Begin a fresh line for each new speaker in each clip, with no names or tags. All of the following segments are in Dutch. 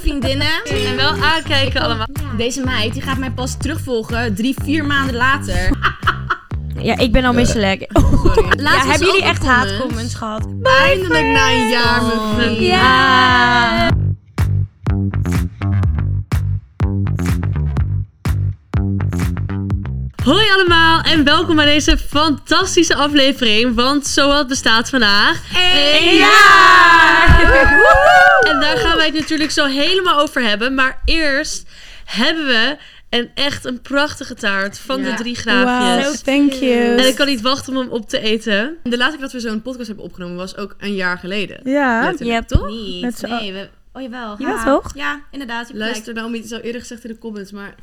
vriendinnen.
En wel aankijken allemaal.
Deze meid die gaat mij pas terugvolgen drie, vier maanden later.
Ja, ik ben al misselijk.
Sorry.
Ja,
Laatst was
hebben
er ook
jullie echt
een comment.
haatcomments Oh. gehad?
Eindelijk na een jaar, mijn vriend.
Ja.
Hoi allemaal en welkom bij deze fantastische aflevering. Want Zoat bestaat vandaag.
Eén
En daar gaan wij het natuurlijk zo helemaal over hebben. Maar eerst hebben we een echt een prachtige taart van
Ja.
de drie graafjes.
Wauw.
Thank
En
you.
ik kan niet wachten om hem op te eten.
De laatste keer dat we zo'n podcast hebben opgenomen was ook een jaar geleden.
Ja.
Letterlijk.
Yep.
Toch?
Niet.
Met z'n
nee, we... Oh, jawel.
Jawel,
ha.
toch?
Ja, inderdaad. je hebt
Luister, Naomi, het is al eerder gezegd in de comments, maar...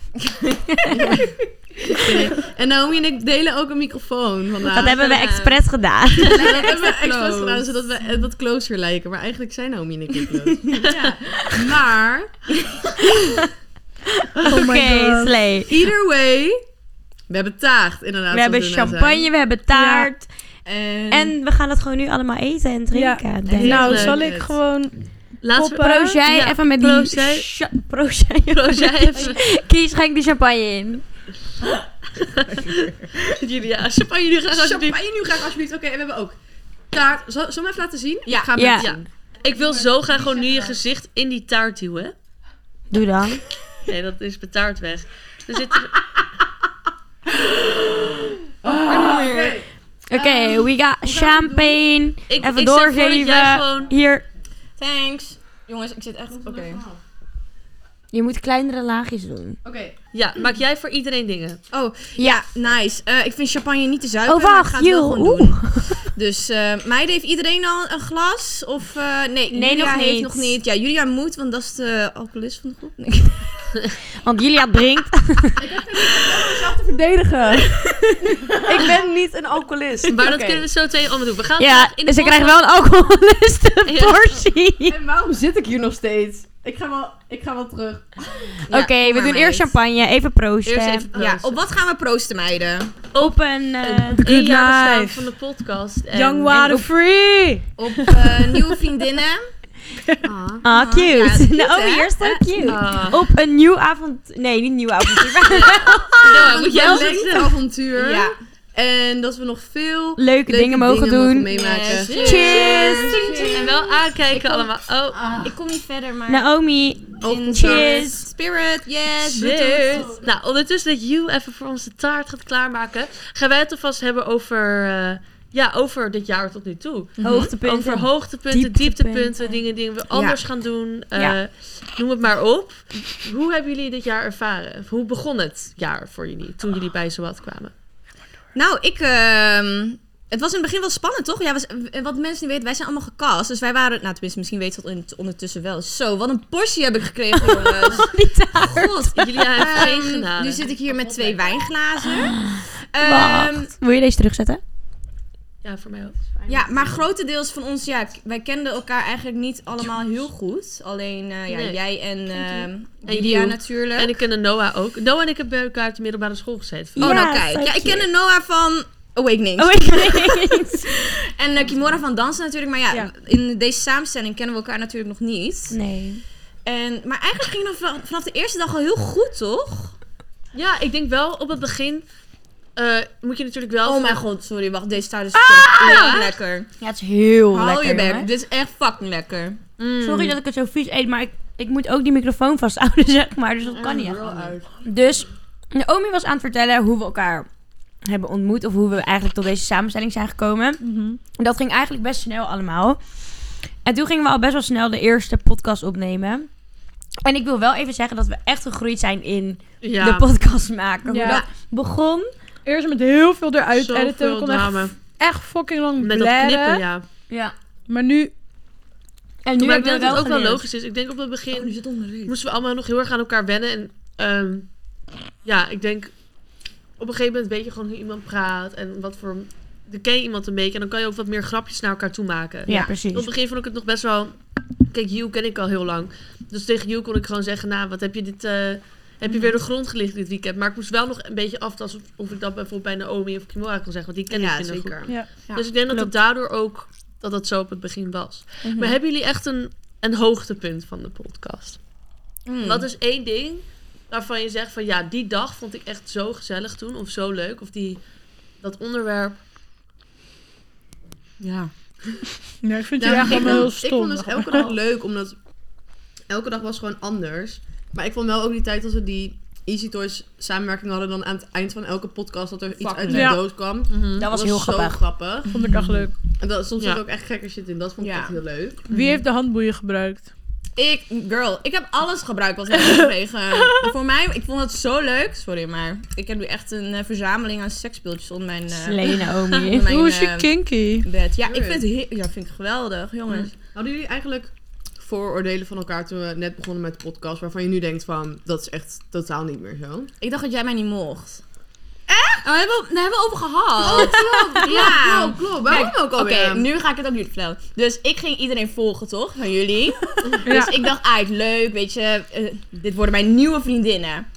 en Naomi en ik delen ook een microfoon vandaag.
Dat hebben we
Ja.
expres gedaan.
Dat hebben we expres
close.
gedaan, zodat we eh, wat closer lijken. Maar eigenlijk zijn Naomi en ik niet close.
gelijk. Ja.
maar,
Oké,
God.
slee.
either way... We hebben taart, inderdaad.
We hebben
zoals net zei.
champagne, we hebben taart.
En,
En we gaan het gewoon nu allemaal eten en drinken. denk ik.
Nou,
Leuk.
zal ik gewoon
Laatste
Poppen. Proost
jij
Ja,
even met
proost
die...
jij.
cha- Proost jij.
Proost jij even.
Kies, schenk die champagne in.
jullie, ja, champagne nu graag alsjeblieft.
champagne nu graag alsjeblieft. Oké, en we hebben ook taart. Zal, zullen we even laten zien?
Ja.
Ga maar
Ja.
zien.
Ik wil zo graag gewoon nu je gezicht in die taart duwen.
Doe dan.
Nee, dat is mijn taart weg. Er zit er-
Oké.
Oké, we got champagne.
Ik,
Even
ik stel voor dat
doorgeven.
jij gewoon...
Hier,
Thanks. Jongens, ik zit echt... Oké.
je moet kleinere laagjes doen.
Oké.
Ja, maak jij voor iedereen dingen.
Oh,
Ja.
nice. Eh, ik vind champagne niet te zuipen.
Oh,
maar ik ga
wacht.
het wel
Joh.
gewoon doen.
Oeh.
Dus eh meiden, heeft iedereen al een glas? Of eh, nee,
Nee,
Julia
nog
heeft
niet.
nog niet. Ja, Julia moet, want dat is de alcoholist van de groep. Nee.
Want Julia drinkt.
te verdedigen. ik ben niet een alcoholist.
Maar dat kunnen we zo meteen allemaal doen. We gaan
Ja,
vandaag in de
dus ik krijg
podcast-
wel een
Ja.
alcoholistenportie.
En waarom
Zit ik hier nog steeds? Ik ga wel, ik ga wel terug.
Oké, we doen eerst champagne. Even proosten.
Eerst even
Ja, op
op
wat gaan we proosten, meiden?
Open. eh,
één
Good
jaar bestaan
life.
van de podcast. En
Young water free.
Op eh, nieuwe vriendinnen. Ah,
Ah,
Ah, ja,
cute.
cute,
nou,
hè?
hier is zo cute.
Ah.
Op een nieuw avond... Nee, niet nieuw avontuur. maar
Ja, moet jij
Een
ook
leuk
zeggen.
avontuur.
ja.
En dat we nog veel leuke
Leuke dingen mogen doen.
meemaken.
Yes.
Cheers.
En wel aankijken allemaal. Oh,
Ik kom niet verder, maar...
Naomi.
in
Nou, cheers.
Spirit, yes. doet
cheers.
het.
Nou, ondertussen dat You even voor onze taart gaat klaarmaken, gaan wij het alvast hebben over, eh, ja, over dit jaar tot nu toe.
Mhm.
Hoogtepunten.
Over hoogtepunten,
Dieptepunten.
dieptepunten, dingen die we anders gaan doen. eh, Noem het maar op. Hoe hebben jullie dit jaar ervaren? Hoe begon het jaar voor jullie toen jullie bij Zowat kwamen?
Nou, ik... ehm, het was in het begin wel spannend, toch? Ja, was, wat mensen niet weten, wij zijn allemaal gecast. Dus wij waren... Nou, tenminste, misschien weten ze dat in- ondertussen wel. Zo, wat een portie heb ik gekregen, jongens.
Die taart.
God,
Jullie hebben
Ehm,
geen genade.
Nu zit ik hier met twee wijnglazen. Ehm,
Wacht. Wil je deze terugzetten?
Ja, voor mij ook.
ja, maar grotendeels van ons, ja, k- wij kenden elkaar eigenlijk niet allemaal heel goed. Alleen eh, ja,
Nee.
jij en ehm
En
Lydia
you.
natuurlijk.
En ik ken de Noah ook. Noah en ik hebben bij elkaar op de middelbare school gezeten.
oh,
Ja,
nou kijk.
thank
Ja, ik
you.
kende Noah van Awakening.
Oh, ik weet
En eh, Kimora van Dansen natuurlijk. Maar ja,
Ja.
in deze samenstelling kennen we elkaar natuurlijk nog niet.
Nee.
En, maar eigenlijk ging dat vanaf- vanaf de eerste dag al heel goed, toch?
Ja, ik denk wel op het begin eh, moet je natuurlijk wel...
Oh mijn god, sorry. Wacht, deze staat is ah!
Ja.
lekker.
Ja, het is heel
Hou je
jongen.
bek. Dit is echt fucking lekker.
Mm.
Sorry dat ik het zo vies eet, maar ik, ik moet ook die microfoon vasthouden, zeg maar. Dus dat kan niet echt. Dus Naomi was aan het vertellen hoe we elkaar hebben ontmoet. Of hoe we eigenlijk tot deze samenstelling zijn gekomen.
Mhm.
En Dat ging eigenlijk best snel allemaal. En toen gingen we al best wel snel de eerste podcast opnemen. En ik wil wel even zeggen dat we echt gegroeid zijn in
Ja.
de podcast maken. Hoe
Ja.
dat begon.
Eerst met heel veel eruit editen.
Zoveel
We konden echt,
drama.
echt fucking lang
Met dat
blaren.
knippen, ja.
Ja.
Maar nu...
En nu
maar ik denk
hebben we
dat
wel
het ook wel
geleerd.
logisch is. Ik denk op het begin
nu zit onderin.
Hm. moesten we allemaal nog heel erg aan elkaar wennen. En ehm, ja, ik denk op een gegeven moment weet je gewoon hoe iemand praat en wat voor. Dan ken je iemand een beetje en dan kan je ook wat meer grapjes naar elkaar toe maken.
Ja,
Op het
precies.
begin vond ik het nog best wel. Kijk, Hugh ken ik al heel lang. Dus tegen Hugh kon ik gewoon zeggen: Nou, wat heb je dit. eh, heb
Hm.
je weer de grond gelicht dit weekend? Maar ik moest wel nog een beetje aftasten of, of ik dat bijvoorbeeld bij Naomi of Kimora kon zeggen. Want die ken ik
Ja,
minder
zeker.
goed.
Ja.
Ja,
dus ik denk dat het daardoor ook
Mhm. Hm.
dat dat zo op het begin was. Maar hebben jullie echt een, een hoogtepunt van de podcast?
Mm.
Wat is één ding waarvan je zegt van ja, die dag vond ik echt zo gezellig toen of zo leuk of die dat onderwerp. Ja.
Nee, ik vind
Nou,
die echt
ik,
allemaal
vond-
heel
ik vond
stom.
dus elke dag leuk, omdat elke dag was gewoon anders. Maar ik vond wel ook die tijd dat we die Easy Toys samenwerking hadden, dan aan het eind van elke podcast dat er iets
Fucking
uit de
leuk. Ja.
doos kwam.
Dat was heel
zo
grappig.
Vond ik echt leuk.
En dat, soms
Mhm. Ja.
zat ook echt gekker shit in. Dat vond ik
Ja.
echt heel leuk.
Wie heeft de handboeien gebruikt?
Ik, girl, ik heb alles gebruikt wat ik heb gekregen. En voor mij, ik vond het zo leuk. Sorry, maar ik heb nu echt een eh, verzameling aan seksspeeltjes onder mijn, eh,
Slee Naomi.
onder mijn
Hoe is je
eh,
kinky?
bed. Ja, ik
Sure.
vind het, heer- ja, vind ik geweldig, jongens.
Hadden jullie eigenlijk vooroordelen van elkaar toen we net begonnen met de podcast, waarvan je nu denkt van, dat is echt totaal niet meer zo?
Ik dacht dat jij mij niet mocht. Echt? Daar hebben, we- daar hebben we over gehad. ja.
Oh, Klopt, klopt. Waarom
Kijk,
ook
Oké,
alweer?
nu ga ik het opnieuw vertellen. Dus ik ging iedereen volgen, toch? Van jullie.
Ja.
Dus ik dacht, ah, leuk, weet je. eh, dit worden mijn nieuwe vriendinnen.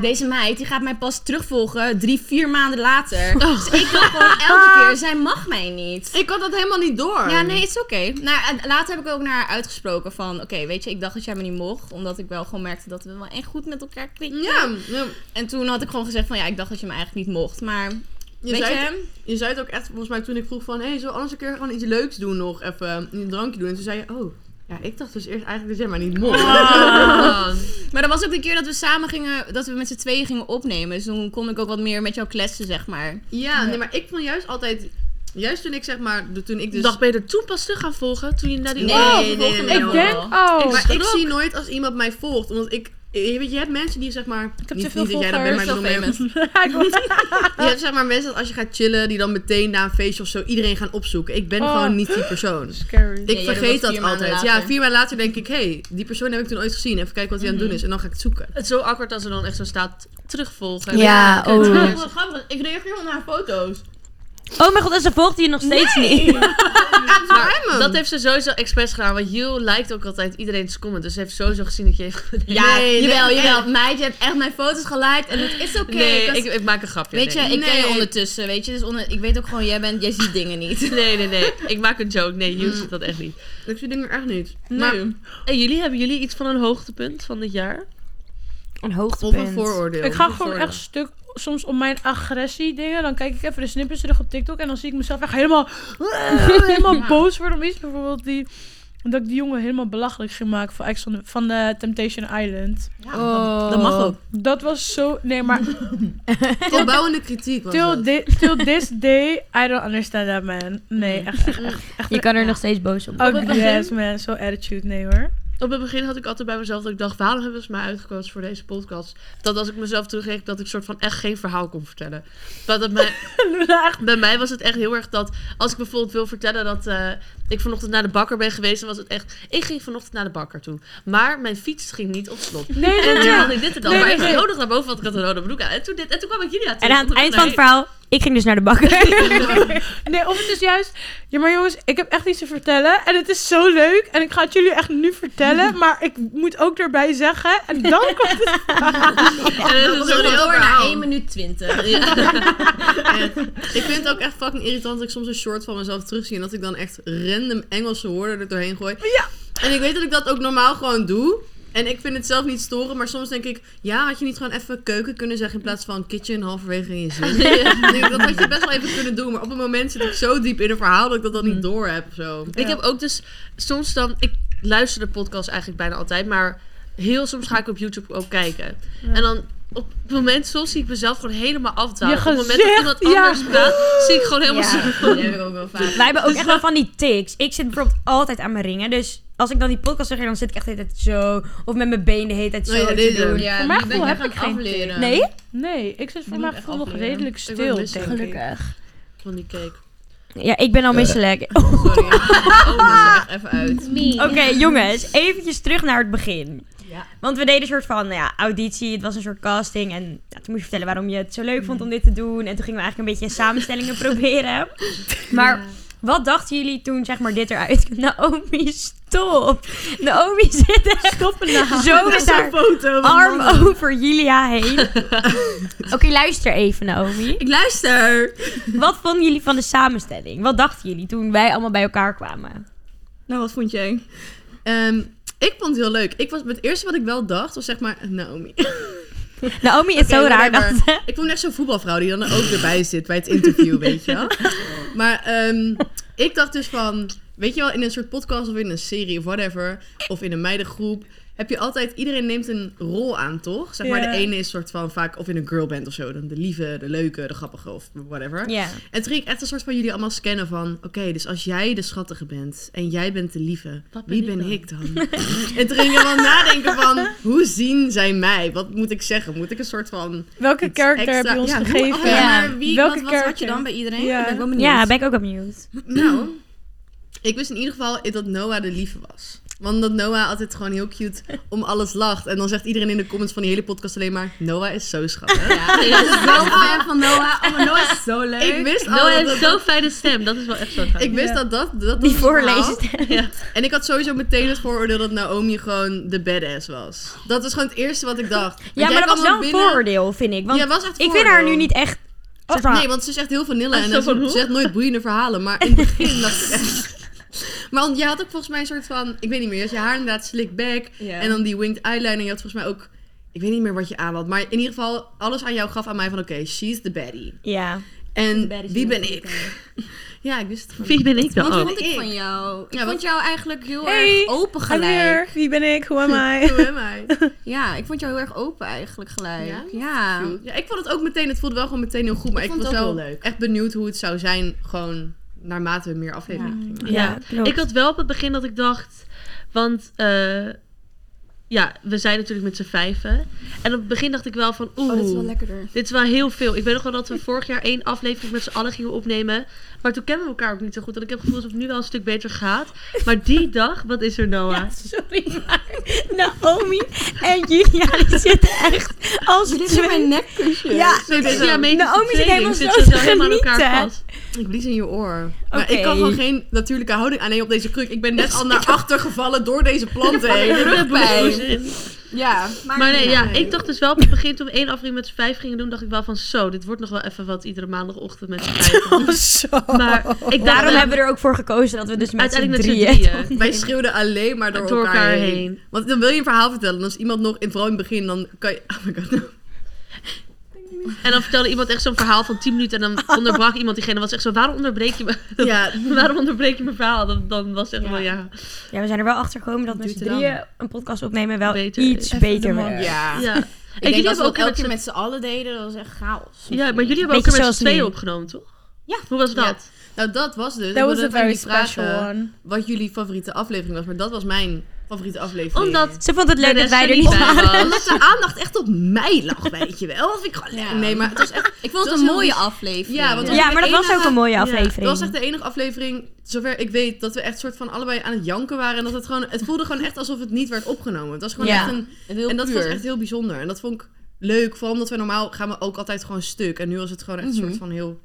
Deze meid, die gaat mij pas terugvolgen drie, vier maanden later.
Oh.
Dus ik dacht gewoon elke keer, zij mag mij niet.
Ik had dat helemaal niet door.
Ja, nee, het is oké. Nou, en later heb ik ook naar haar uitgesproken van... Oké, weet je, ik dacht dat jij me niet mocht. Omdat ik wel gewoon merkte dat we wel echt goed met elkaar klikken.
Ja, ja.
En toen had ik gewoon gezegd van... Ja, ik dacht dat je me eigenlijk niet mocht. Maar,
Je
weet
zei het-
je...
Je zei het ook echt, volgens mij toen ik vroeg van... Hé, hey, zullen we anders een keer gewoon iets leuks doen nog? Even een drankje doen. En toen zei je, oh... Ja, ik dacht dus eerst eigenlijk dat jij maar niet mocht.
Ah.
Ah.
Maar dat was ook de keer dat we samen gingen... Dat we met z'n tweeën gingen opnemen. Dus toen kon ik ook wat meer met jou kletsen, zeg maar.
Ja, nee, maar ik vond juist altijd... Juist toen ik zeg maar... de- Toen ik dus...
Dus... Dag ben je er toen pas terug gaan volgen toen je naar die
Nee,
Oh,
nee,
volgens
nee,
mij
nee,
Ik
wel.
joh.
denk, oh.
Maar ik
schrok.
zie nooit als iemand mij volgt. Omdat ik... Je, weet, je hebt mensen die zeg maar...
te
niet,
veel
niet dat jij dat
volgers.
bent, maar ik
Zo
bedoel meer-
famous.
Ik word-
Je
Ah.
hebt zeg maar mensen dat als je gaat chillen... Die dan meteen na een feestje of zo iedereen gaan opzoeken. Ik ben
Oh.
gewoon niet die persoon.
Scary.
Ik
Ja, jij dat was
vergeet dat
vier maanden
altijd.
later.
Ja, vier maanden later denk ik... Hé, hey, die persoon heb ik toen ooit gezien. Even kijken wat hij aan het doen is. En dan ga ik het zoeken.
Mhm. Het is zo awkward als er dan echt zo staat terugvolgen.
Ja,
En dan-
Ah,
oh.
Wat grappig. Ik reageer op haar foto's.
Oh mijn god, en ze volgt je nog steeds niet.
Maar dat heeft ze sowieso expres gedaan. Want you lijkt ook altijd iedereen's comment. Dus ze heeft sowieso gezien dat je heeft...
Ja,
Nee,
jawel,
nee,
jawel. Meid, je hebt echt mijn foto's geliked. En het is oké.
nee,
Dat-
ik, ik maak een grapje.
Weet je,
nee.
ik ken je
Nee.
ondertussen, weet je. Dus onder, ik weet ook gewoon, jij, bent, jij ziet dingen niet. Dus
Nee, nee, nee. Ik maak een joke. Nee, you ziet dat echt niet.
Ik zie dingen echt niet.
Maar-
En jullie, hebben jullie iets van een hoogtepunt van dit jaar?
Een
Of
hoogtepunt.
een vooroordeel.
Ik ga
Een
gewoon
vooroordeel.
echt stuk soms om mijn agressie dingen. Dan kijk ik even de snippets terug op TikTok. En dan zie ik mezelf echt helemaal, helemaal boos worden om iets. Bijvoorbeeld die, dat ik die jongen helemaal belachelijk ging maken van, Ex on the- van de Temptation Island.
Oh.
Dat mag ook.
Dat was zo... Nee, maar
Opbouwende kritiek was
till,
dat.
thi- till this day, I don't understand that man. Nee, echt. echt, echt.
Je kan er nog steeds boos op.
Oh, yes man, zo attitude. Nee hoor.
Op het begin had ik altijd bij mezelf dat ik dacht, waarom hebben ze mij uitgekozen voor deze podcast? Dat als ik mezelf terugreek, dat ik soort van echt geen verhaal kon vertellen. Dat het mij,
Luna, echt.
bij mij was het echt heel erg dat, als ik bijvoorbeeld wil vertellen dat eh, ik vanochtend naar de bakker ben geweest, dan was het echt, ik ging vanochtend naar de bakker toe. Maar mijn fiets ging niet op slot.
Nee, nee,
En toen
nee.
had ik dit er dan
Nee,
bij.
nee,
Ik ging
nee.
ook nog naar boven, want ik had een rode broek aan. En toen, dit, en toen kwam ik jullie
Oh.
aan
En aan het eind van het verhaal, ik ging dus naar de bakker.
Nee, of het is juist... Ja, maar jongens, ik heb echt iets te vertellen. En het is zo leuk. En ik ga het jullie echt nu vertellen. Maar ik moet ook erbij zeggen. En dan komt het...
En
Dat
dat
was
is
een heel
ook nog-
Door naar
verhaal.
1 minuut 20.
Echt. Ik vind het ook echt fucking irritant dat ik soms een short van mezelf terugzie. En dat ik dan echt random Engelse woorden er doorheen gooi.
Ja.
En ik weet dat ik dat ook normaal gewoon doe. En ik vind het zelf niet storen. Maar soms denk ik, ja, had je niet gewoon even keuken kunnen zeggen. In plaats van kitchen halverwege in je zin. Ik denk, dat had je best wel even kunnen doen. Maar op een moment zit ik zo diep in een verhaal dat ik dat dan niet door heb. Zo.
Mm. Ik heb ook dus soms dan... Ik luister de podcast eigenlijk bijna altijd, maar heel soms ga ik op YouTube ook kijken. En dan op het moment, soms zie ik mezelf gewoon helemaal afdwalen.
Je
Op het moment dat
gezicht,
iemand
ja.
anders praat, zie ik gewoon helemaal
Ja.
zo...
Dat heb ik ook wel vaak.
Wij hebben ook echt wel van die tics. Ik zit bijvoorbeeld altijd aan mijn ringen. Dus als ik dan die podcast zeg, dan zit ik echt de hele tijd zo. Of met mijn been de hele tijd zo
Oh ja,
te
dit
doen.
doen.
Ja,
Voor mijn
die ben
gevoel heb
gaan
ik geen
afleren.
Nee?
Nee, ik zit voor
Die
mij
moet ik
gevoel nog
afleren.
redelijk
Ik word
stil, denk
misselijk.
ik.
Van die cake.
Ja, ik ben al misselijk.
Sorry. Oh, dat is echt even uit.
Oké, jongens, eventjes terug naar het begin.
Ja.
Want we deden een soort van nou ja, auditie, het was een soort casting. En ja, toen moest je vertellen waarom je het zo leuk vond om dit te doen. En toen gingen we eigenlijk een beetje samenstellingen proberen. Maar wat dachten jullie toen, zeg maar, dit eruit? Naomi, stop! Naomi zit echt
Stop nou.
zo met haar
foto.
arm over Julia heen. Oké, luister even, Naomi.
Ik luister.
Wat vonden jullie van de samenstelling? Wat dachten jullie toen wij allemaal bij elkaar kwamen?
Nou, wat vond jij?
Ehm, Ik vond het heel leuk. Ik was, het eerste wat ik wel dacht was zeg maar Naomi.
Naomi is zo
Oké,
raar dat...
whatever. Ik vond echt zo'n voetbalvrouw die dan er ook erbij zit bij het interview, weet je wel. Maar ehm, ik dacht dus van, weet je wel, in een soort podcast of in een serie of whatever, of in een meidengroep, heb je altijd, iedereen neemt een rol aan, toch? Zeg maar,
Ja.
de ene is soort van vaak, of in een girlband of zo, dan de lieve, de leuke, de grappige of whatever.
Ja.
En toen ging ik echt een soort van jullie allemaal scannen van... Oké, dus als jij de schattige bent en jij bent de lieve,
Wat ben
wie
ik
ben
dan?
ik dan? en toen ging ik allemaal nadenken van... Hoe zien zij mij? Wat moet ik zeggen? Moet ik een soort van...
Welke
iets
karakter heb je
extra-
ons
Ja, hoe-
gegeven?
Oh, ja,
Ja.
maar wie,
Welke
wat, wat had je
character?
dan bij iedereen?
Ja.
Ik ben ik wel benieuwd.
ja, ben ik ook opnieuw.
Nou, ik wist in ieder geval dat Noah de lieve was. Want dat Noah altijd gewoon heel cute om alles lacht. En dan zegt iedereen in de comments van die hele podcast alleen maar... Noah is zo schattig.
Ja, ik ben wel fan van Noah. Oh, maar Noah is zo leuk.
ik wist al
Noah
dat...
heeft zo'n fijne stem. Dat is wel echt zo gaaf.
ik wist dat dat... dat
Die
was het verhaal.
voorlezen.
Ja.
En ik had sowieso meteen het vooroordeel dat Naomi gewoon de badass was. Dat is gewoon het eerste wat ik dacht. Want
Ja,
jij
maar dat
kwam
was wel
ook
een
binnen-
vooroordeel, vind ik. Want
Ja, was echt
ik vind haar nu
vooroordeel.
niet echt... zeg maar-
Nee, want ze zegt heel vanille
Ah,
en
zo
ze
van, hoe?
zegt nooit boeiende verhalen. Maar in het begin dacht ik echt... Maar want jij had ook volgens mij een soort van... Ik weet niet meer, je had je haar inderdaad slick back.
Ja.
En dan die winged eyeliner. Je had volgens mij ook... Ik weet niet meer wat je aan had. Maar in ieder geval, alles aan jou gaf aan mij van... Oké, she's the baddie.
Ja.
En
Baddest
wie ben
jongen.
ik? Ja, Oh, ik wist het gewoon.
Wie ben ik
Wat
dan ook?
vond oh. ik van jou? Ik
Ja, wat-
vond jou eigenlijk heel
Hey,
erg open
I'm
gelijk.
here. Wie ben ik? Who am I?
Who am I?
Ja, ik vond jou heel erg open eigenlijk gelijk.
Ja?
Ja?
Ja, ik vond het ook meteen, het voelde wel gewoon meteen heel goed. Maar ik,
Ik vond
was
het ook
wel
heel leuk.
echt benieuwd hoe het zou zijn, gewoon naarmate we meer afleveringen gingen maken.
Ja,
klopt.
Oh.
Ik had wel op het begin dat ik dacht, want eh, ja, we zijn natuurlijk met z'n vijven. En op het begin dacht ik wel van, oeh,
Oh, dat is wel lekkerder.
dit is wel heel veel. Ik weet nog wel dat we vorig jaar één aflevering met z'n allen gingen opnemen. Maar toen kennen we elkaar ook niet zo goed. En ik heb het gevoel dat het nu wel een stuk beter gaat. Maar die dag, wat is er Noah?
Ja, sorry, maar Naomi en Julia die zitten echt als
Dit is
twee...
mijn nekkusje.
Ja,
Nee, dit is
Zo.
ja, mee
Naomi zit helemaal
zit
zo
ze
te
helemaal aan elkaar
genieten.
vast.
Ik blies in je oor. Maar
Oké.
ik kan gewoon geen natuurlijke houding aannemen op deze kruk. Ik ben net al naar achter gevallen door deze planten heen.
Ik heb
Rugpijn.
bloes in.
Ja,
Maar nee, ja, ik dacht dus wel op het begin toen we één aflevering met z'n vijf gingen doen, dacht ik wel van zo, dit wordt nog wel even wat iedere maandagochtend met z'n vijf.
Zo.
Maar ik
Oh. Daarom
dacht-
hebben we er ook voor gekozen dat we dus met z'n
uiteindelijk met z'n
drieën...
drieën.
Wij schreeuwden alleen maar door, elkaar, heen. Want dan wil je een verhaal vertellen. En als iemand nog, in- vooral in het begin, dan kan je... Oh my god, nou.
En dan vertelde iemand echt zo'n verhaal van 10 minuten en dan onderbrak iemand diegene. en was echt zo, waarom onderbreek je, me,
Ja,
waarom onderbreek je mijn verhaal? Dan, dan was echt
Ja.
wel, ja.
Ja, we zijn er wel achter gekomen dat met
Doet
z'n
het dan.
drieën een podcast opnemen wel
Beter
iets
is.
beter
Even de
werkt.
Ja.
ja.
Ik
jullie
denk dat
hebben
we
ook
ook elke
met
keer
z'n-
met z'n allen deden, dat was echt chaos.
ja, maar jullie hebben ook
Beetje
een keer met
zoals
z'n tweeën
nu.
opgenomen, toch?
Ja.
Hoe was
Ja.
dat?
nou dat was dus. Ik
That was
wilde
a very
jullie vragen
special one.
Wat jullie favoriete aflevering was. Maar dat was mijn favoriete aflevering.
Omdat
Ze vond het
de
leuk dat
rest
wij er niet
bij
waren.
was.
Omdat de aandacht echt op mij lag, weet je wel. Dat vind ik gewoon leuk.
Ja.
Nee, maar het was echt...
Ik vond
Dat
het
was
een
heel
mooie
lief.
aflevering.
Ja, want
Ja, maar dat was ook een mooie
Ja,
Het
aflevering.
was echt de enige aflevering, zover ik weet, dat we echt soort van allebei aan het janken waren. En dat het gewoon... Het voelde gewoon echt alsof het niet werd opgenomen. Het was gewoon
Ja.
echt een...
Heel
en dat was
puur.
echt heel bijzonder. En dat vond ik leuk. Vooral omdat we normaal gaan we ook altijd gewoon stuk. En nu was het gewoon echt een soort van heel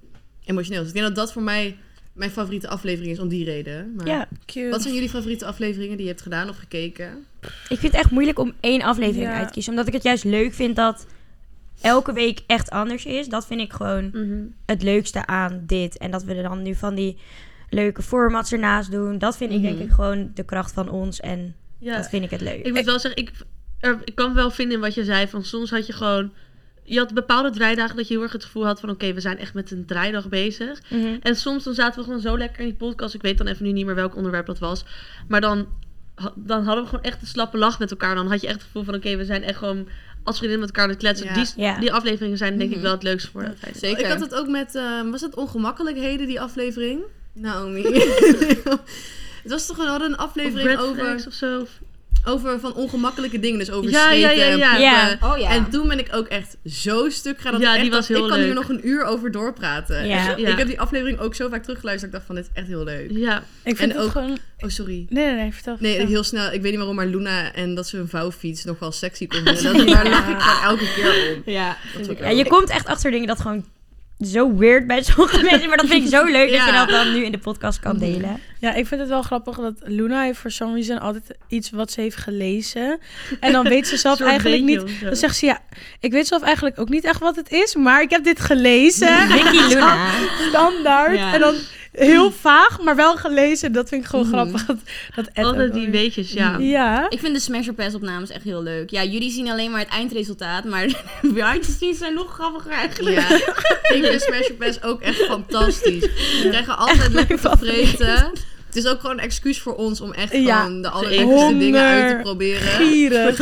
emotioneel. Dus ik denk dat dat voor mij mijn favoriete aflevering is, om die reden. Maar
Ja,
Cute.
Wat zijn jullie favoriete afleveringen die je hebt gedaan of gekeken?
ik vind het echt moeilijk om één aflevering
Ja.
uit te kiezen. Omdat ik het juist leuk vind dat elke week echt anders is. Dat vind ik gewoon
Mhm.
het leukste aan dit. En dat we er dan nu van die leuke formats ernaast doen. Dat vind ik denk ik gewoon de kracht van ons. En dat
Ja.
vind ik het leuk.
Ik moet wel zeggen, ik, er- ik kan wel vinden in wat je zei, van soms had je gewoon... Je had bepaalde draaidagen dat je heel erg het gevoel had van... oké, we zijn echt met een draaidag bezig.
Mhm.
En soms dan zaten we gewoon zo lekker in die podcast. Ik weet dan even nu niet meer welk onderwerp dat was. Maar dan, ha- dan hadden we gewoon echt een slappe lach met elkaar. Dan had je echt het gevoel van... oké, we zijn echt gewoon als vriendinnen met elkaar aan het kletsen.
Ja.
Die, s-
Ja.
die afleveringen zijn denk ik wel het leukste voor dat feit.
Zeker.
Ik had het ook met, ehm, was dat Ongemakkelijkheden, die aflevering? Naomi. het was toch, we hadden een
Of
aflevering
red
over,
flags of zo. Of-
over van ongemakkelijke dingen. Dus over
Ja, ja,
steken
ja,
en
ja.
poepen.
Ja.
Oh ja.
En toen ben ik ook echt zo stuk gaan. Dat
Ja,
ik echt
die was
dacht,
heel
Ik kan
leuk.
hier nog een uur over doorpraten.
Ja.
Ik-
Ja.
Ik heb die aflevering ook zo vaak teruggeluisterd. Ik dacht van, dit is echt heel leuk.
Ja,
Ik vind
en
het
ook-
gewoon...
Oh, sorry.
Nee, nee, nee, vertel.
Nee,
vertel.
heel snel. Ik weet niet waarom, maar Luna en dat ze een vouwfiets nog wel sexy kon vinden. Dat, Daar lag ik gewoon elke keer op.
Ja.
Dat vond ik
Ja, je
ook-
komt echt achter dingen dat gewoon zo weird bij sommige mensen. Maar dat vind ik zo leuk dat je
Ja.
dat dan nu in de podcast kan delen.
Ja, ik vind het wel grappig dat Luna heeft voor some reason altijd iets wat ze heeft gelezen. En dan weet ze zelf
Soort
eigenlijk
beetje
niet...
of zo.
Dan zegt ze, ja, ik weet zelf eigenlijk ook niet echt wat het is, maar ik heb dit gelezen.
Ricky Luna.
Standaard.
Ja.
En dan heel vaag, maar wel gelezen. Dat vind ik gewoon grappig. Dat, dat Ed ook
Altijd die
alweer-
weetjes, ja.
Ja.
Ik vind de Smash or Pass opnames echt heel leuk. Ja, jullie zien alleen maar het eindresultaat, maar de behind the scenes zijn nog grappiger eigenlijk.
Ja, ik vind Smash Your Pass ook echt fantastisch. We krijgen altijd lekker te vreten. Het is ook gewoon een excuus voor ons om echt
Ja.
gewoon de allerlekkerste dingen
Honger.
uit te proberen.
Gierig.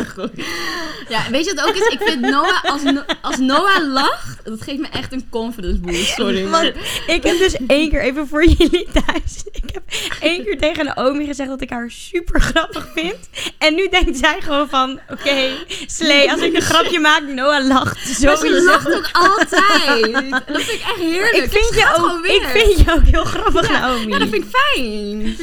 Ja, weet je wat ook is? Ik vind Noah, als, No- als Noah lacht, dat geeft me echt een confidence boost. Sorry. maar-
Want ik heb dus één keer, even voor jullie thuis, ik heb één keer tegen Naomi gezegd dat ik haar super grappig vind. En nu denkt zij gewoon van, oké, slee, als ik een grapje maak, Noah lacht.
Maar ze
Sowieso.
lacht ook altijd. Dat vind ik echt heerlijk.
Ik vind, je
gaat gewoon
ook,
weer.
ik vind je ook heel grappig, Naomi.
Ja, dat vind ik fijn.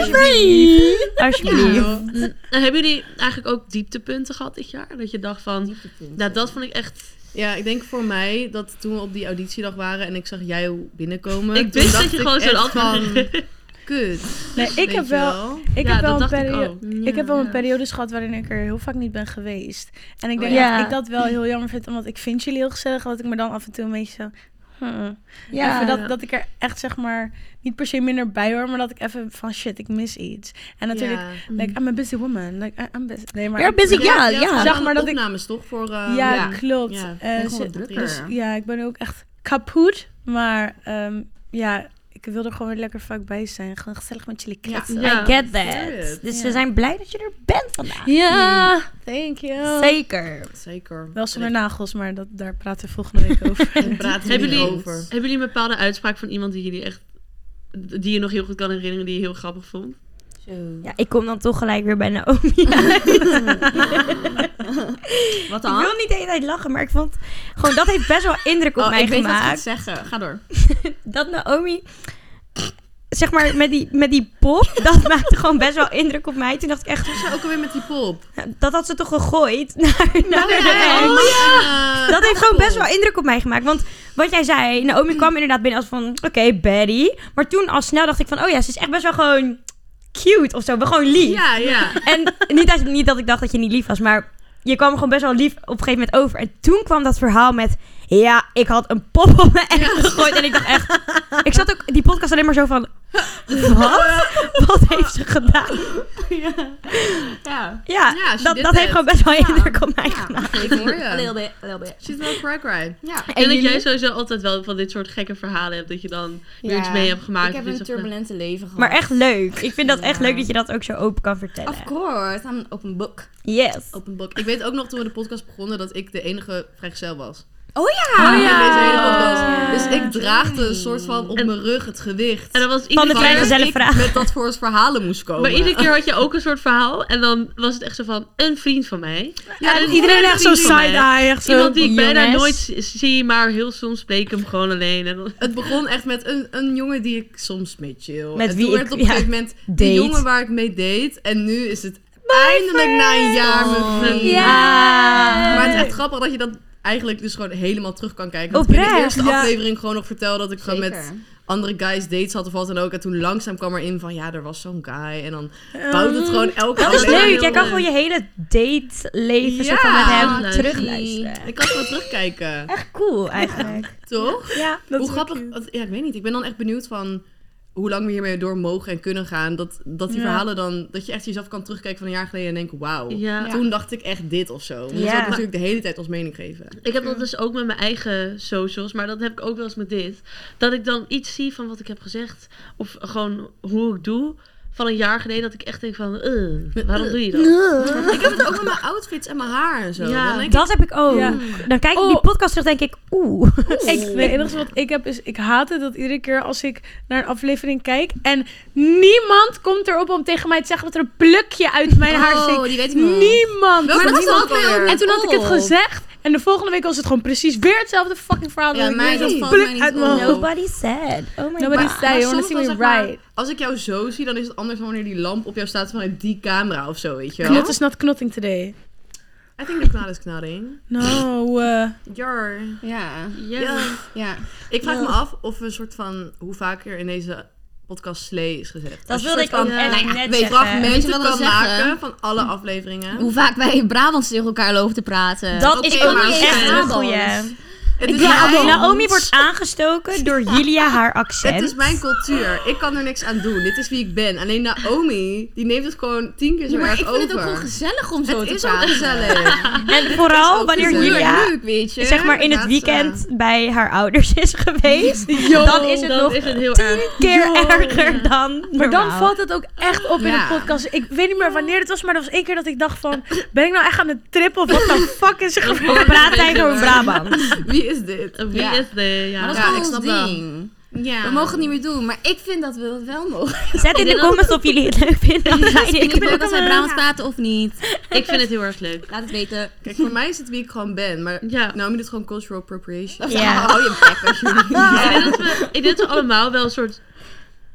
Alsjeblieft. Alsjeblieft.
Nou, hebben jullie eigenlijk ook dieptepunten gehad dit jaar? Dat je dacht van, nou dat vond ik echt...
Ja, ik denk voor mij dat toen we op die auditiedag waren en ik zag jou binnenkomen.
Ik wist
toen
dat je
dacht
gewoon
ik
zo'n
echt
antwoord
Kut.
Nee, ik
weet
heb
je
wel... Ik
Ja,
heb wel
dat
een
dacht ik
periode...
ook.
Ik heb
Mm,
wel een periodes gehad waarin ik er heel vaak niet ben geweest. En
Oh,
ik denk
ja.
dat ik dat wel heel jammer vind, omdat ik vind jullie heel gezellig. Dat ik me dan af en toe een beetje zo... hmm.
Ja.
Even dat, dat ik er echt zeg maar niet per se minder bij hoor, maar dat ik even van shit, ik mis iets. En natuurlijk,
Ja.
like, I'm a busy woman. Like, I- I'm busy. Nee, maar
You're
ik-
busy, ja,
Je had
ja.
Zeg
gewoon
maar dat ik-
opnames toch voor... eh,
Ja,
ja.
klopt.
Ja, ik
Eh,
vond
ze-
het drukker.
dus ja, ik ben ook echt kapot. Maar ehm, ja, ik wil er gewoon weer lekker vaak bij zijn. Gewoon gezellig met jullie
Ja.
kletsen.
Ja.
I get
Ja.
that. Dus
Ja.
we zijn blij dat je er bent vandaag.
Ja, thank you.
Zeker.
Zeker.
Wel zonder nagels, maar dat, daar praten we volgende week over.
En praten
Hebben
we
jullie, Oh,
over.
hebben jullie een bepaalde uitspraak van iemand die jullie echt... Die je nog heel goed kan herinneren, die je heel grappig vond?
Ja, ik kom dan toch gelijk weer bij Naomi.
Wat
Ik
dan?
wil niet de hele tijd lachen, maar ik vond... Gewoon, dat heeft best wel indruk op
Oh,
mij
ik weet wat je gaat
gemaakt.
zeggen. Ga door.
Dat Naomi... Zeg maar, met die, met die pop, dat maakte gewoon best wel indruk op mij. Toen dacht ik echt,
Ja, ook alweer met die pop.
dat had ze toch gegooid naar, naar de ex.
Oh, ja.
Dat heeft gewoon best wel indruk op mij gemaakt. Want wat jij zei, Naomi kwam inderdaad binnen als van, oké, Betty. Maar toen al snel dacht ik van, oh ja, ze is echt best wel gewoon cute of zo. Wel gewoon lief.
Ja, ja.
En niet dat, niet dat ik dacht dat je niet lief was, maar je kwam gewoon best wel lief op een gegeven moment over. En toen kwam dat verhaal met, ja, ik had een pop op mijn echt gegooid. En ik dacht echt, ik zat ook die podcast alleen maar zo van, wat? Wat heeft ze gedaan?
Ja.
Ja,
Ja, she
dat,
did
dat heeft
it.
gewoon best wel indruk op mij gemaakt.
Ik hoor
A little
je.
bit, a little bit.
She's not crack right.
Ja.
En, dat
jullie?
jij sowieso altijd wel van dit soort gekke verhalen hebt. Dat je dan weer
Ja.
iets mee hebt gemaakt.
Ik heb
of iets
een
of-
turbulente leven gehad.
Maar echt leuk. Ik vind dat echt
Ja.
leuk dat je dat ook zo open kan vertellen.
Of course. I'm an open book.
Yes.
Open book. Ik weet ook nog toen we de podcast begonnen dat ik de enige vrijgezel was.
Oh ja!
Ah, In deze hele
ja.
podcast. Dus
Hmm.
ik draagde een soort van op
En-
mijn rug het gewicht.
En dat was
Van
iedere
de
keer...
vrijgezel-
vrijgezellen
ik
vraag.
Met dat voor ons verhalen moest komen.
Maar iedere keer had je ook een soort verhaal. En dan was het echt zo van, een vriend van mij.
Ja,
en
Iedereen
een
echt zo
vriend van mij.
side-eye. Echt zo.
Iemand die ik bijna
jongens.
nooit z- zie, maar heel soms bleek ik hem gewoon alleen. En dan-
Het begon echt met een, een jongen die ik soms mee chill.
Met
en
wie
toen werd
ik-
het op een
ja,
gegeven moment de
date.
jongen waar ik mee date. En nu is het eindelijk na een jaar mijn vriend.
Ja.
Maar het is echt grappig dat je dat eigenlijk dus gewoon helemaal terug kan kijken. Want ik in de
Oprecht,
eerste
ja.
aflevering gewoon nog vertel dat ik gewoon met
Zeker.
andere guys dates had of wat dan ook. En toen langzaam kwam erin van ja, er was zo'n guy. En dan bouwt het gewoon elke
Oh. Dat is
Ja,
aflevering
leuk.
heel
Jij kan gewoon
leuk.
je hele dateleven soort van
Ja.
met hem
Leuk.
terugluisteren.
Ik kan gewoon terugkijken,
Echt cool eigenlijk.
toch?
Ja.
Dat is
hoe
wel
grappig.
cute.
want- ja, ik weet niet. Ik ben dan echt benieuwd van hoe lang we hiermee door mogen en kunnen gaan. Dat, dat die
Ja.
verhalen dan, dat je echt jezelf kan terugkijken van een jaar geleden en denken, wauw.
Oh.
Ja.
Toen dacht ik echt dit of zo. We
Ja.
zouden natuurlijk de hele tijd ons mening geven.
Ik heb dat dus ook met mijn eigen socials, maar dat heb ik ook wel eens met dit. Dat ik dan iets zie van wat ik heb gezegd, of gewoon hoe ik doe, van een jaar geleden, dat ik echt denk van, eh, waarom doe je dat?
Ik heb het ook met mijn outfits en mijn haar en zo.
Ja.
Dan denk ik,
Dat heb ik ook.
Ja.
Dan kijk ik
Oh.
die podcast terug denk ik, oeh.
Ik, het enige wat ik heb is, ik haat het dat iedere keer als ik naar een aflevering kijk en niemand komt erop om tegen mij te zeggen dat er een plukje uit mijn haar
Oh,
steekt.
die weet ik nog.
Niemand.
Welke
Maar
was
niemand-
dat ook alweer?
En toen had ik het
Oh.
gezegd en de volgende week was het gewoon precies weer hetzelfde fucking verhaal.
Ja,
ik
mij
weer
dat
een
valt
pluk
mij niet
uit mijn
op.
hoofd.
Nobody said. Oh my
Oh. Nobody
god.
maar- maar
said, you wanna
soms
see
dan
me
zeg maar,
right.
Als ik jou zo zie, dan is het anders dan wanneer die lamp op jou staat vanuit die camera of zo, weet je wel.
Knot is not knotting today.
I think the knal is knalling.
No. eh,
Jar.
Ja.
Ja.
Ja.
Ik vraag me af of we een soort van, hoe vaker in deze podcast slee is gezet.
Dat wilde ik ook
van-
echt
Nou
net
eh, weet je,
zeggen.
Weet je
Punten
wat ik
kan
wil zeggen?
maken van alle afleveringen.
Hoe vaak wij in Brabants tegen elkaar lopen te praten.
Dat is
Oké,
ook
maar
echt
fijn.
een goeie.
Het is,
Ja,
mijn,
Naomi wordt aangestoken door Julia haar accent.
het is mijn cultuur. Ik kan er niks aan doen. Dit is wie ik ben. Alleen Naomi, die neemt het gewoon tien keer zo
Ja, maar
erg
ik vind
over.
het ook gewoon gezellig om zo
Het
te
is ook
praten.
gezellig.
En vooral
ook
wanneer
gezellig.
Julia
leuk, weet je.
zeg maar in het
Laatste.
weekend bij haar ouders is geweest,
Yo,
dan is het
dan
nog
is het heel
tien keer erger dan
Maar dan
normaal.
valt het ook echt op in
Ja.
de podcast. Ik weet niet meer wanneer het was, maar er was één keer dat ik dacht van... Ben ik nou echt aan het trippen of wat de fuck is er gebeurd?
Of praat hij door Brabant.
Wie is dit?
Wie
Ja.
is de... Ja.
Maar dat is
Ja,
gewoon
ik
ons
snap wel.
ding.
Ja.
We mogen het niet meer doen, maar ik vind dat we dat wel mogen.
Zet in de comments of jullie het leuk vinden. als wij dit
Ik
doen.
vind ook dat wij Brabants praten of niet.
Ik vind het heel erg leuk.
Laat het weten.
Kijk, voor mij is het wie ik gewoon ben. Maar
Ja.
Naomi doet gewoon cultural appropriation.
Ja.
Hou je bek alsjeblieft.
Ik, denk dat we, ik denk dat we allemaal wel een soort...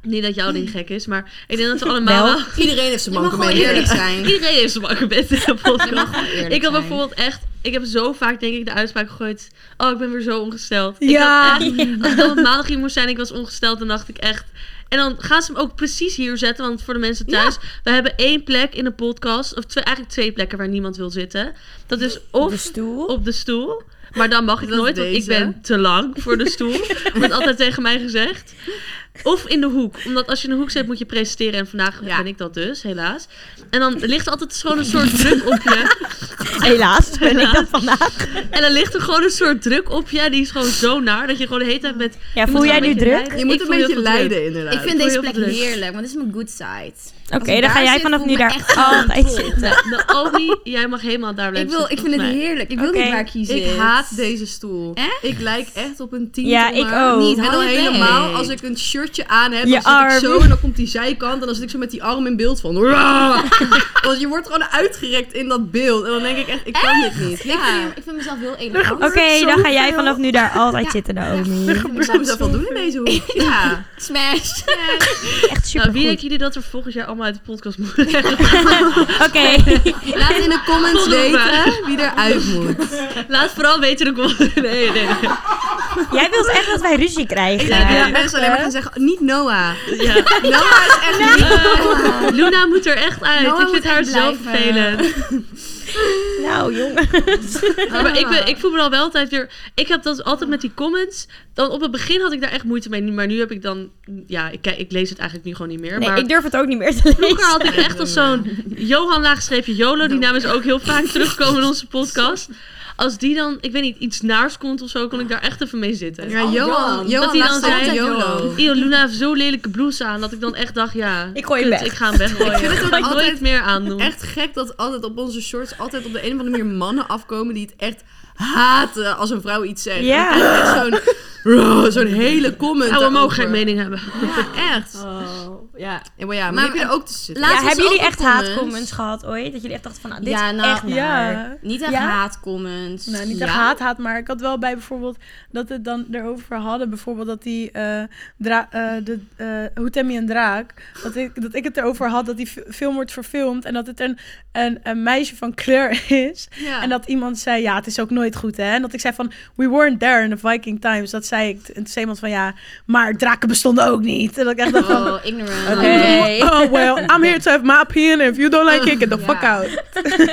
Niet dat jouw ding gek is, maar ik denk dat we allemaal
Wel.
wel...
Iedereen heeft zijn
Je mag gewoon
mankementen.
eerlijk zijn.
Iedereen heeft zijn wakker bed.
Je mag gewoon eerlijk
Ik
zijn.
had bijvoorbeeld echt... Ik heb zo vaak denk ik de uitspraak gegooid... Oh, ik ben weer zo ongesteld.
Ja.
Ik had echt, als ik dan op maandag hier moest zijn ik was ongesteld, dan dacht ik echt... En dan gaan ze hem ook precies hier zetten, want voor de mensen thuis... We hebben één plek in de podcast, of twee, eigenlijk twee plekken waar niemand wil zitten. Dat is of
De stoel.
op de stoel. Maar dan mag ik
Dat is
nooit, want ik
deze.
ben te lang voor de stoel. Wordt altijd tegen mij gezegd. Of in de hoek. Omdat als je in de hoek zit, moet je presenteren. En vandaag
Ja.
ben ik dat dus, helaas. En dan ligt er altijd gewoon een soort druk op je.
Helaas ben ik dat vandaag.
En dan ligt er gewoon een soort druk op je. Die is gewoon zo naar. Dat je gewoon de hele tijd met...
Ja,
je
voel
moet
jij
wel
nu
een beetje
druk?
lijden.
Je moet
Ik
een
voel heel
beetje
veel druk.
lijden, inderdaad.
Ik vind
heel
deze
veel
plek
druk.
heerlijk, want dit is mijn good side.
Oké,
ik
dan ga
daar
jij
zit,
vanaf
voel
nu
ik me
daar
echt
altijd
trots.
zitten.
Nou, Naomi, jij mag helemaal daar
Ik,
blijven
wil, ik
zitten,
vind het
volgens mij.
heerlijk. Ik wil
Oké.
niet waar kiezen.
Ik haat deze stoel. Ik lijk echt op een tien.
Ja, ik ook.
Niet,
En
hou
dan
je bek.
helemaal als ik een shirtje aan heb,
Je
dan zit
arm.
ik zo en dan komt die zijkant. En dan zit ik zo met die arm in beeld van... "Raah." Want je wordt gewoon uitgerekt in dat beeld. En dan denk ik echt, ik kan dit niet.
Ik
Ja.
vind, ik vind mezelf heel elegant.
Oké, dan ga jij vanaf nu daar altijd zitten, Naomi.
Ik zou mezelf wel doen in deze hoek. Ja.
Smash.
Echt
Nou,
super
wie denken jullie dat er volgend jaar allemaal uit de podcast moeten?
Oké.
Laat in de comments weten wie eruit moet.
Laat vooral weten hoe ik... Nee, nee, nee.
Jij wilt echt dat wij ruzie krijgen.
Ja, mensen alleen maar gaan zeggen, niet Noah.
Ja.
Noah is echt niet
Eh, Luna moet er echt uit.
Noah
ik vind
moet
haar
echt
zo
blijven.
vervelend.
Nou, jongen.
Maar ik, ben, ik voel me dan wel altijd weer... Ik heb dat altijd met die comments. Dan op het begin had ik daar echt moeite mee. Maar nu heb ik dan... Ja, ik, kijk- ik lees het eigenlijk nu gewoon niet meer.
Nee,
maar
ik durf het ook niet meer te
vroeger
lezen.
had ik echt als zo'n... Johan laagstreepje Jolo. Die naam is ook heel vaak terugkomen in onze podcast. Als die dan, ik weet niet, iets naars komt of zo... kon ik daar echt even mee zitten.
Ja, Johan.
Johan.
Johan
Dat hij dan
laat staan
zei,
YOLO.
Eeuw, Luna heeft zo'n lelijke blouse aan... dat ik dan echt dacht, ja...
Ik gooi hem
kut,
weg.
Ik ga hem weggooien.
Ik vind het ook
Ga ik nooit
altijd
meer aandoen.
Echt gek dat altijd op onze shorts altijd op de een of andere manier mannen afkomen die het echt haten als een vrouw iets zegt.
Ja.
En dan krijg je echt Zo'n Ruh, zo'n hele comment.
Nou, we mogen
daarover.
geen mening hebben.
Ja, echt.
Oh.
Oh,
ja.
Ja, maar ja, maar,
Maar-
heb je er ook te zitten?
Laatst
Ja,
was
hebben
er
jullie
ook
echt
een
haatcomments gehad ooit? Dat jullie echt dachten van, nou, dit
Ja,
is
nou,
echt naar.
ja.
Niet echt
Ja?
haatcomments.
Nou, niet
Ja.
echt haat, haat, maar ik had wel bij bijvoorbeeld dat we het dan erover hadden. Bijvoorbeeld dat die, eh dra- eh, de, eh hoe tem je een draak, dat ik, dat ik het erover had dat die fi- film wordt verfilmd en dat het een, een, een meisje van kleur is.
Ja.
En dat iemand zei, ja, het is ook nooit goed, hè? En dat ik zei van, we weren't there in the Viking times. Dat zei ik. En toen zei iemand van, ja, maar draken bestonden ook niet. En dat ik echt dacht van,
Oh, ignorant.
Oké. Hey.
oh well, I'm here to have my opinion. If you don't like it, get the
Ja.
fuck out.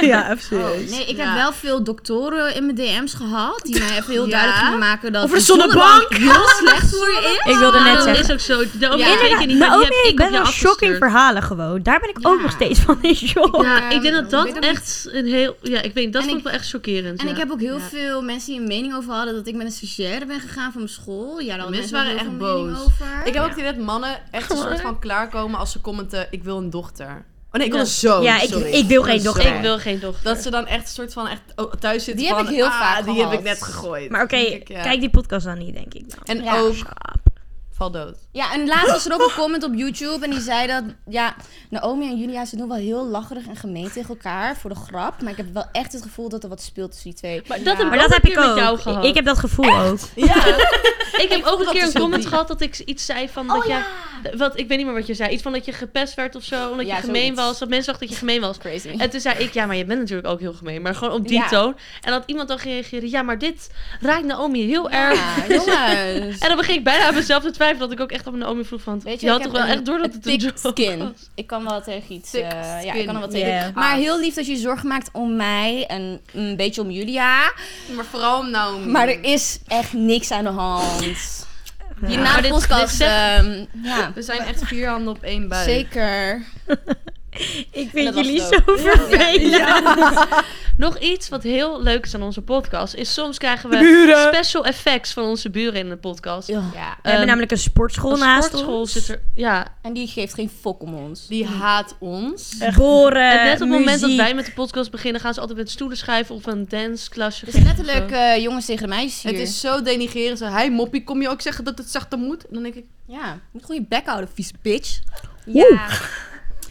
ja, even
Oh,
serieus.
nee, ik
Ja.
heb wel veel doktoren in mijn DM's gehad die mij even heel
Ja?
duidelijk gingen maken dat
Over
een
de zonnebank!
heel slecht voor je is.
Ik wilde
Maar
net
Ah, dat
zeggen.
is ook zo. Naomi,
Ja.
weet je niet, maar die
Naomi,
heb Nou, ik
ik
op
ben
jou
wel shocking
afgestuurd.
verhalen gewoon. Daar ben ik ook
Ja.
nog steeds van in shock.
Ja, ik denk
Ehm,
dat dat
weet ik
echt een heel... Ja, ik weet niet, dat
En
vond ik
ik-
wel echt chockerend.
En
ja.
ik heb ook heel
Ja.
veel mensen die een mening over hadden dat ik met een stagiaire ben gegaan van mijn school. Ja, dan
Mensen waren echt boos.
Over.
Ik heb ook het idee dat mannen echt een soort van klaarkomen als ze commenten, ik wil een dochter. Oh nee, ik wil een zoon.
Ja, ik,
sorry.
ik wil geen
Sorry.
dochter.
Ik wil geen dochter.
Dat ze dan echt een soort van echt oh, thuis zitten
Die heb
van,
ik heel
ah,
vaak
die
gehad.
heb ik net gegooid.
Maar oké,
Denk ik, ja.
kijk die podcast dan niet, denk ik. dan.
En
Ja.
ook, val dood.
Ja, en laatst was er ook een comment op YouTube en die zei dat, ja, Naomi en Julia, ze doen wel heel lacherig en gemeen tegen elkaar voor de grap. Maar ik heb wel echt het gevoel dat er wat speelt tussen die twee.
Maar dat heb ik
Maar dat
ook
heb
een
ik
keer met jou
ook.
gehad.
Ik heb dat gevoel ook.
Ja,
Ik heb ook een
Wat
keer
dus
is
een
heel
comment
diep.
gehad dat ik iets zei van
Oh,
dat jij... Wat, ik weet niet meer wat je zei. Iets van dat je gepest werd of zo. Omdat
Ja,
je gemeen
zoiets.
was. Dat mensen dachten dat je gemeen was.
Crazy.
En toen zei ik, ja, maar je bent natuurlijk ook heel gemeen. Maar gewoon op die
Ja.
toon. En dat iemand dan gereageerd, ja, maar dit raakt Naomi heel erg.
Ja, jongens.
En dan begin ik bijna aan mezelf te twijfelen dat ik ook echt op Naomi vroeg van...
Weet je,
je,
ik
had
heb
toch wel
een-
echt door dat
een
het een
thick
joke
skin.
was?
Ik kan wel tegen iets.
Thick
eh, ja, ik kan er wat
skin.
tegen.
Yeah.
Maar heel lief dat je je zorgen maakt om mij en een beetje om Julia.
Maar vooral nou...
Maar
Mm.
er is echt niks aan de hand. Je
Ja, maar
na de
dit- dit
podcast.
zegt-
ehm, ja,
We zijn echt vier handen op één buik.
zeker.
Ik
vind
vind
jullie
jullie zo vervelend.
Nog iets wat heel leuk is aan onze podcast... is soms krijgen we
Buren.
special effects van onze buren in de podcast.
Ja.
We hebben
Ehm,
namelijk een sportschool
Een
naast
sportschool
ons.
zit er... Ja,
En die geeft geen fok om ons.
Die haat ons.
Boren,
en net op het moment dat
Eh, muziek.
wij met de podcast beginnen... gaan ze altijd met stoelen schuiven of een danceklasje
Het is
geven of
letterlijk
zo.
eh, jongens tegen de meisjes hier.
Het is zo denigrerend. Zo, Hij moppie, kom je ook zeggen dat het zachter moet? En dan denk ik,
Ja, je moet gewoon je bek houden, vieze bitch.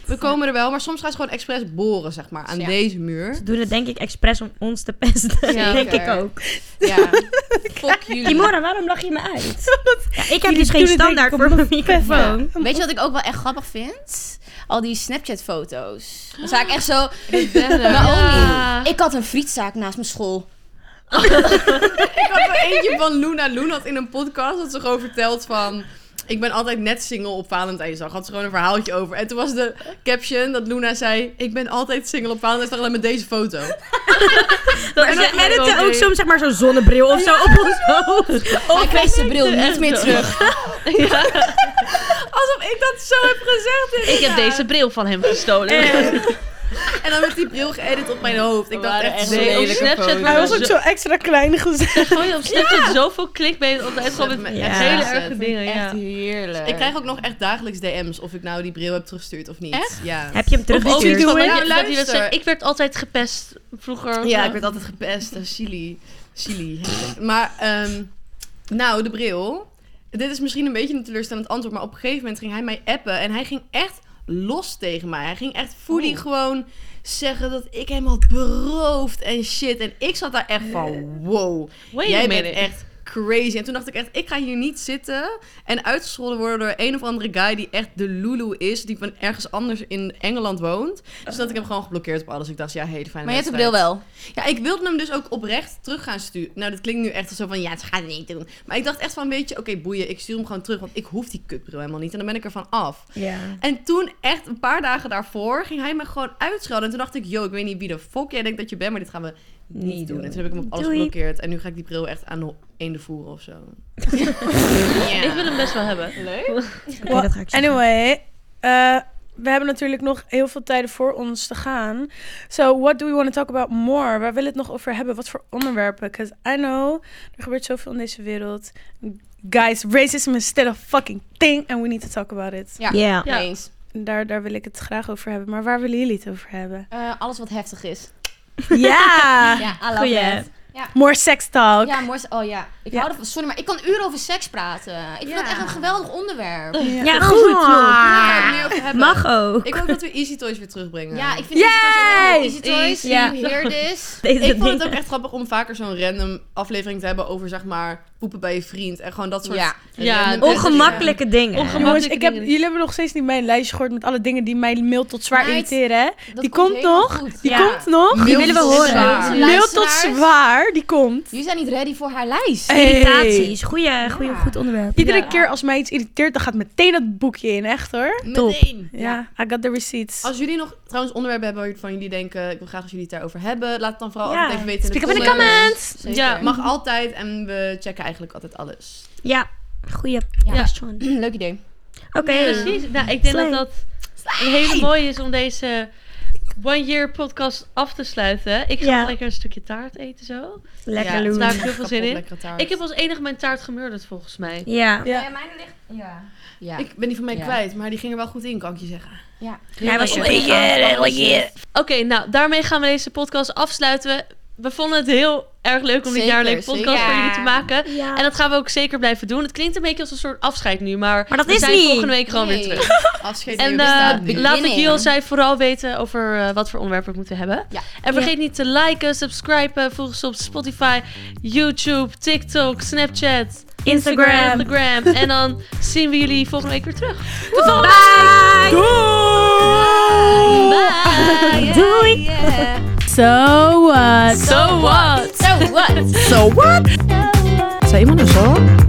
we komen er wel. Maar soms gaan ze gewoon expres boren, zeg maar, aan
Ja.
deze muur.
Ze doen het denk ik expres om ons te pesten.
Zeker.
denk ik ook.
Ja. Fok jullie.
Kimora, waarom lach je me uit? Ja, ik heb
jullie
dus geen
doen het
standaard
denk
voor
ik
mijn microfoon.
Weet je wat ik ook wel echt grappig vind? Al die Snapchat-foto's. Dan sta ik echt zo...
Ja.
Naomi, ik had een frietzaak naast mijn school.
Ik had er eentje van Luna. Luna had in een podcast dat ze gewoon verteld van... Ik ben altijd net single op Valentijnsdag. Had ze gewoon een verhaaltje over. En toen was de caption dat Luna zei... Ik ben altijd single op Valentijnsdag, alleen met deze foto.
En ze editen ook soms zeg maar zo'n zonnebril of zo op ons hoofd.
Hij kreeg zijn bril niet meer terug.
Ja.
Alsof ik dat zo heb gezegd.
Ik heb deze bril van hem gestolen.
En dan werd die bril geëdit op mijn hoofd. Ik dacht
waren
echt,
echt
zo'n
Nee, op
lelijke
Snapchat
foto.
waren
was ook zo extra klein gezegd.
Gooi je op Snapchat zoveel clickbait altijd gewoon met
Ja.
hele
Ja.
erge dingen. Ja.
heerlijk.
Ik krijg ook nog echt dagelijks DM's of ik nou die bril heb teruggestuurd of niet. Echt? Ja.
Heb je hem teruggestuurd?
Van
Ja,
dat je- dat je
luister.
zegt, ik werd altijd gepest vroeger.
Ja, ik werd altijd gepest. eh, Silly. Silly. maar, ehm, nou, de bril. Dit is misschien een beetje een teleurstellend antwoord, maar op een gegeven moment ging hij mij appen en hij ging echt los tegen mij. Hij ging echt fully gewoon zeggen dat ik hem had beroofd en shit. En ik zat daar echt van, wow.
Wait a
Jij
minute.
bent echt crazy. En toen dacht ik echt, ik ga hier niet zitten en uitgescholden worden door een of andere guy die echt de Lulu is, die van ergens anders in Engeland woont. Dus dat ik hem gewoon geblokkeerd op alles. Ik dacht, ja, hele fijne
Maar je hebt de
wedstrijd.
bril wel.
Ja, ik wilde hem dus ook oprecht terug gaan sturen. Nou, dat klinkt nu echt zo van, ja, het gaat niet doen. Maar ik dacht echt van, weet je, oké, boeien, ik stuur hem gewoon terug, want ik hoef die kutbril helemaal niet. En dan ben ik er van af. En toen, echt een paar dagen daarvoor, ging hij me gewoon uitschelden. En toen dacht ik, yo, ik weet niet wie de fuck jij denkt dat je bent, maar dit gaan we niet,
Niet
doen.
doen.
En toen heb ik hem op alles
Doei.
geblokkeerd. En nu ga ik die bril echt aan de eenden voeren of zo.
Ik wil hem best wel hebben.
Oké, dat ga ik zeggen.
Anyway, eh, we hebben natuurlijk nog heel veel tijden voor ons te gaan. So, what do we want to talk about more? Waar willen we het nog over hebben? Wat voor onderwerpen? Because I know, er gebeurt zoveel in deze wereld. Guys, racism is still a fucking thing and we need to talk about it.
Ja.
Ja.
Ja.
Eens.
Daar, daar wil ik het graag over hebben. Maar waar willen jullie het over hebben?
Eh, alles wat heftig is.
Ja!
Ja, I love
Goeie.
that.
More sex talk.
Ja, Morse. Oh ja. Ik
Ja.
hou ervan. Sorry, maar ik kan uren over seks praten. Ik vind
Ja.
dat echt een geweldig onderwerp.
Ah.
Ja, goed joh.
Daar gaan we het meer over hebben.
Mag ook.
Ik hoop dat we Easy Toys weer terugbrengen.
Ja, ik vind het Easy Toys. ook heel- Easy Toys,
Ja.
you hear this.
Deze
Ik vond het ook
dingen.
echt grappig om vaker zo'n random aflevering te hebben over, zeg maar, poepen bij je vriend. En gewoon dat soort...
Ja.
Ja,
random-
Ongemakkelijke dingen.
Ongema-
Jongens, ik
Gemakkelijke
heb,
dingen.
jullie hebben nog steeds niet mijn lijstje gehoord met alle dingen die mijn mail tot zwaar
Meid,
irriteren. hè?
Dat
Die komt
helemaal
nog.
goed.
Die
Ja.
komt nog.
Mail
willen we
tot
horen.
zwaar.
Ja.
Mail tot
Luisteraars.
zwaar, die komt.
Jullie zijn niet ready voor haar lijst.
Hey.
Irritaties. Goeie, goeie, goed onderwerp.
Iedere
Ja.
keer als mij iets irriteert, dan gaat meteen dat boekje in, echt hoor.
Top.
Meteen.
Ja, I got the receipts.
Als jullie nog trouwens onderwerpen hebben waarvan jullie denken, ik wil graag dat jullie het daarover hebben, laat het dan vooral
Ja.
altijd even weten.
Speak up in the
comments.
comments.
Zeker.
Ja,
Mag altijd en we checken eigenlijk altijd alles.
Ja, goeie
Ja.
question.
Leuk idee.
Oké.
precies. Nou, ik denk
Slay.
dat dat een hele mooie is om deze One Year podcast af te sluiten. Ik ga
Ja.
lekker een stukje taart eten zo.
Lekker
Ja,
Loen.
Daar heb ik heel veel zin
Kapot
in.
lekkere taart.
Ik heb als enige mijn taart gemurderd volgens mij.
Ja.
Ja.
mijn Eh, ligt... Ja. Ja.
Ik ben die van mij
Ja.
kwijt, maar die ging er wel goed in, kan ik je zeggen.
ja.
Hij was eh,
Heel
super.
Oké, nou, daarmee gaan we deze podcast afsluiten. We- We vonden het heel erg leuk om dit
Zeker,
jaar een leuke podcast
zeker.
voor jullie te maken.
Ja.
En dat gaan we ook zeker blijven doen. Het klinkt een beetje als een soort afscheid nu, maar,
Maar dat
we
is
zijn
niet.
volgende week gewoon
Nee.
weer terug.
Afscheid
En
hier bestaat
eh
niet.
laat ik
Beginning.
jullie zij vooral weten over eh, wat voor onderwerpen we moeten hebben.
Ja.
En vergeet niet te liken, subscriben, volg ons op Spotify, YouTube, TikTok, Snapchat,
Instagram.
Instagram. en dan zien we jullie volgende week weer terug. Bye!
Doei!
So what?
So what?
So what?
Zou iemand een zo?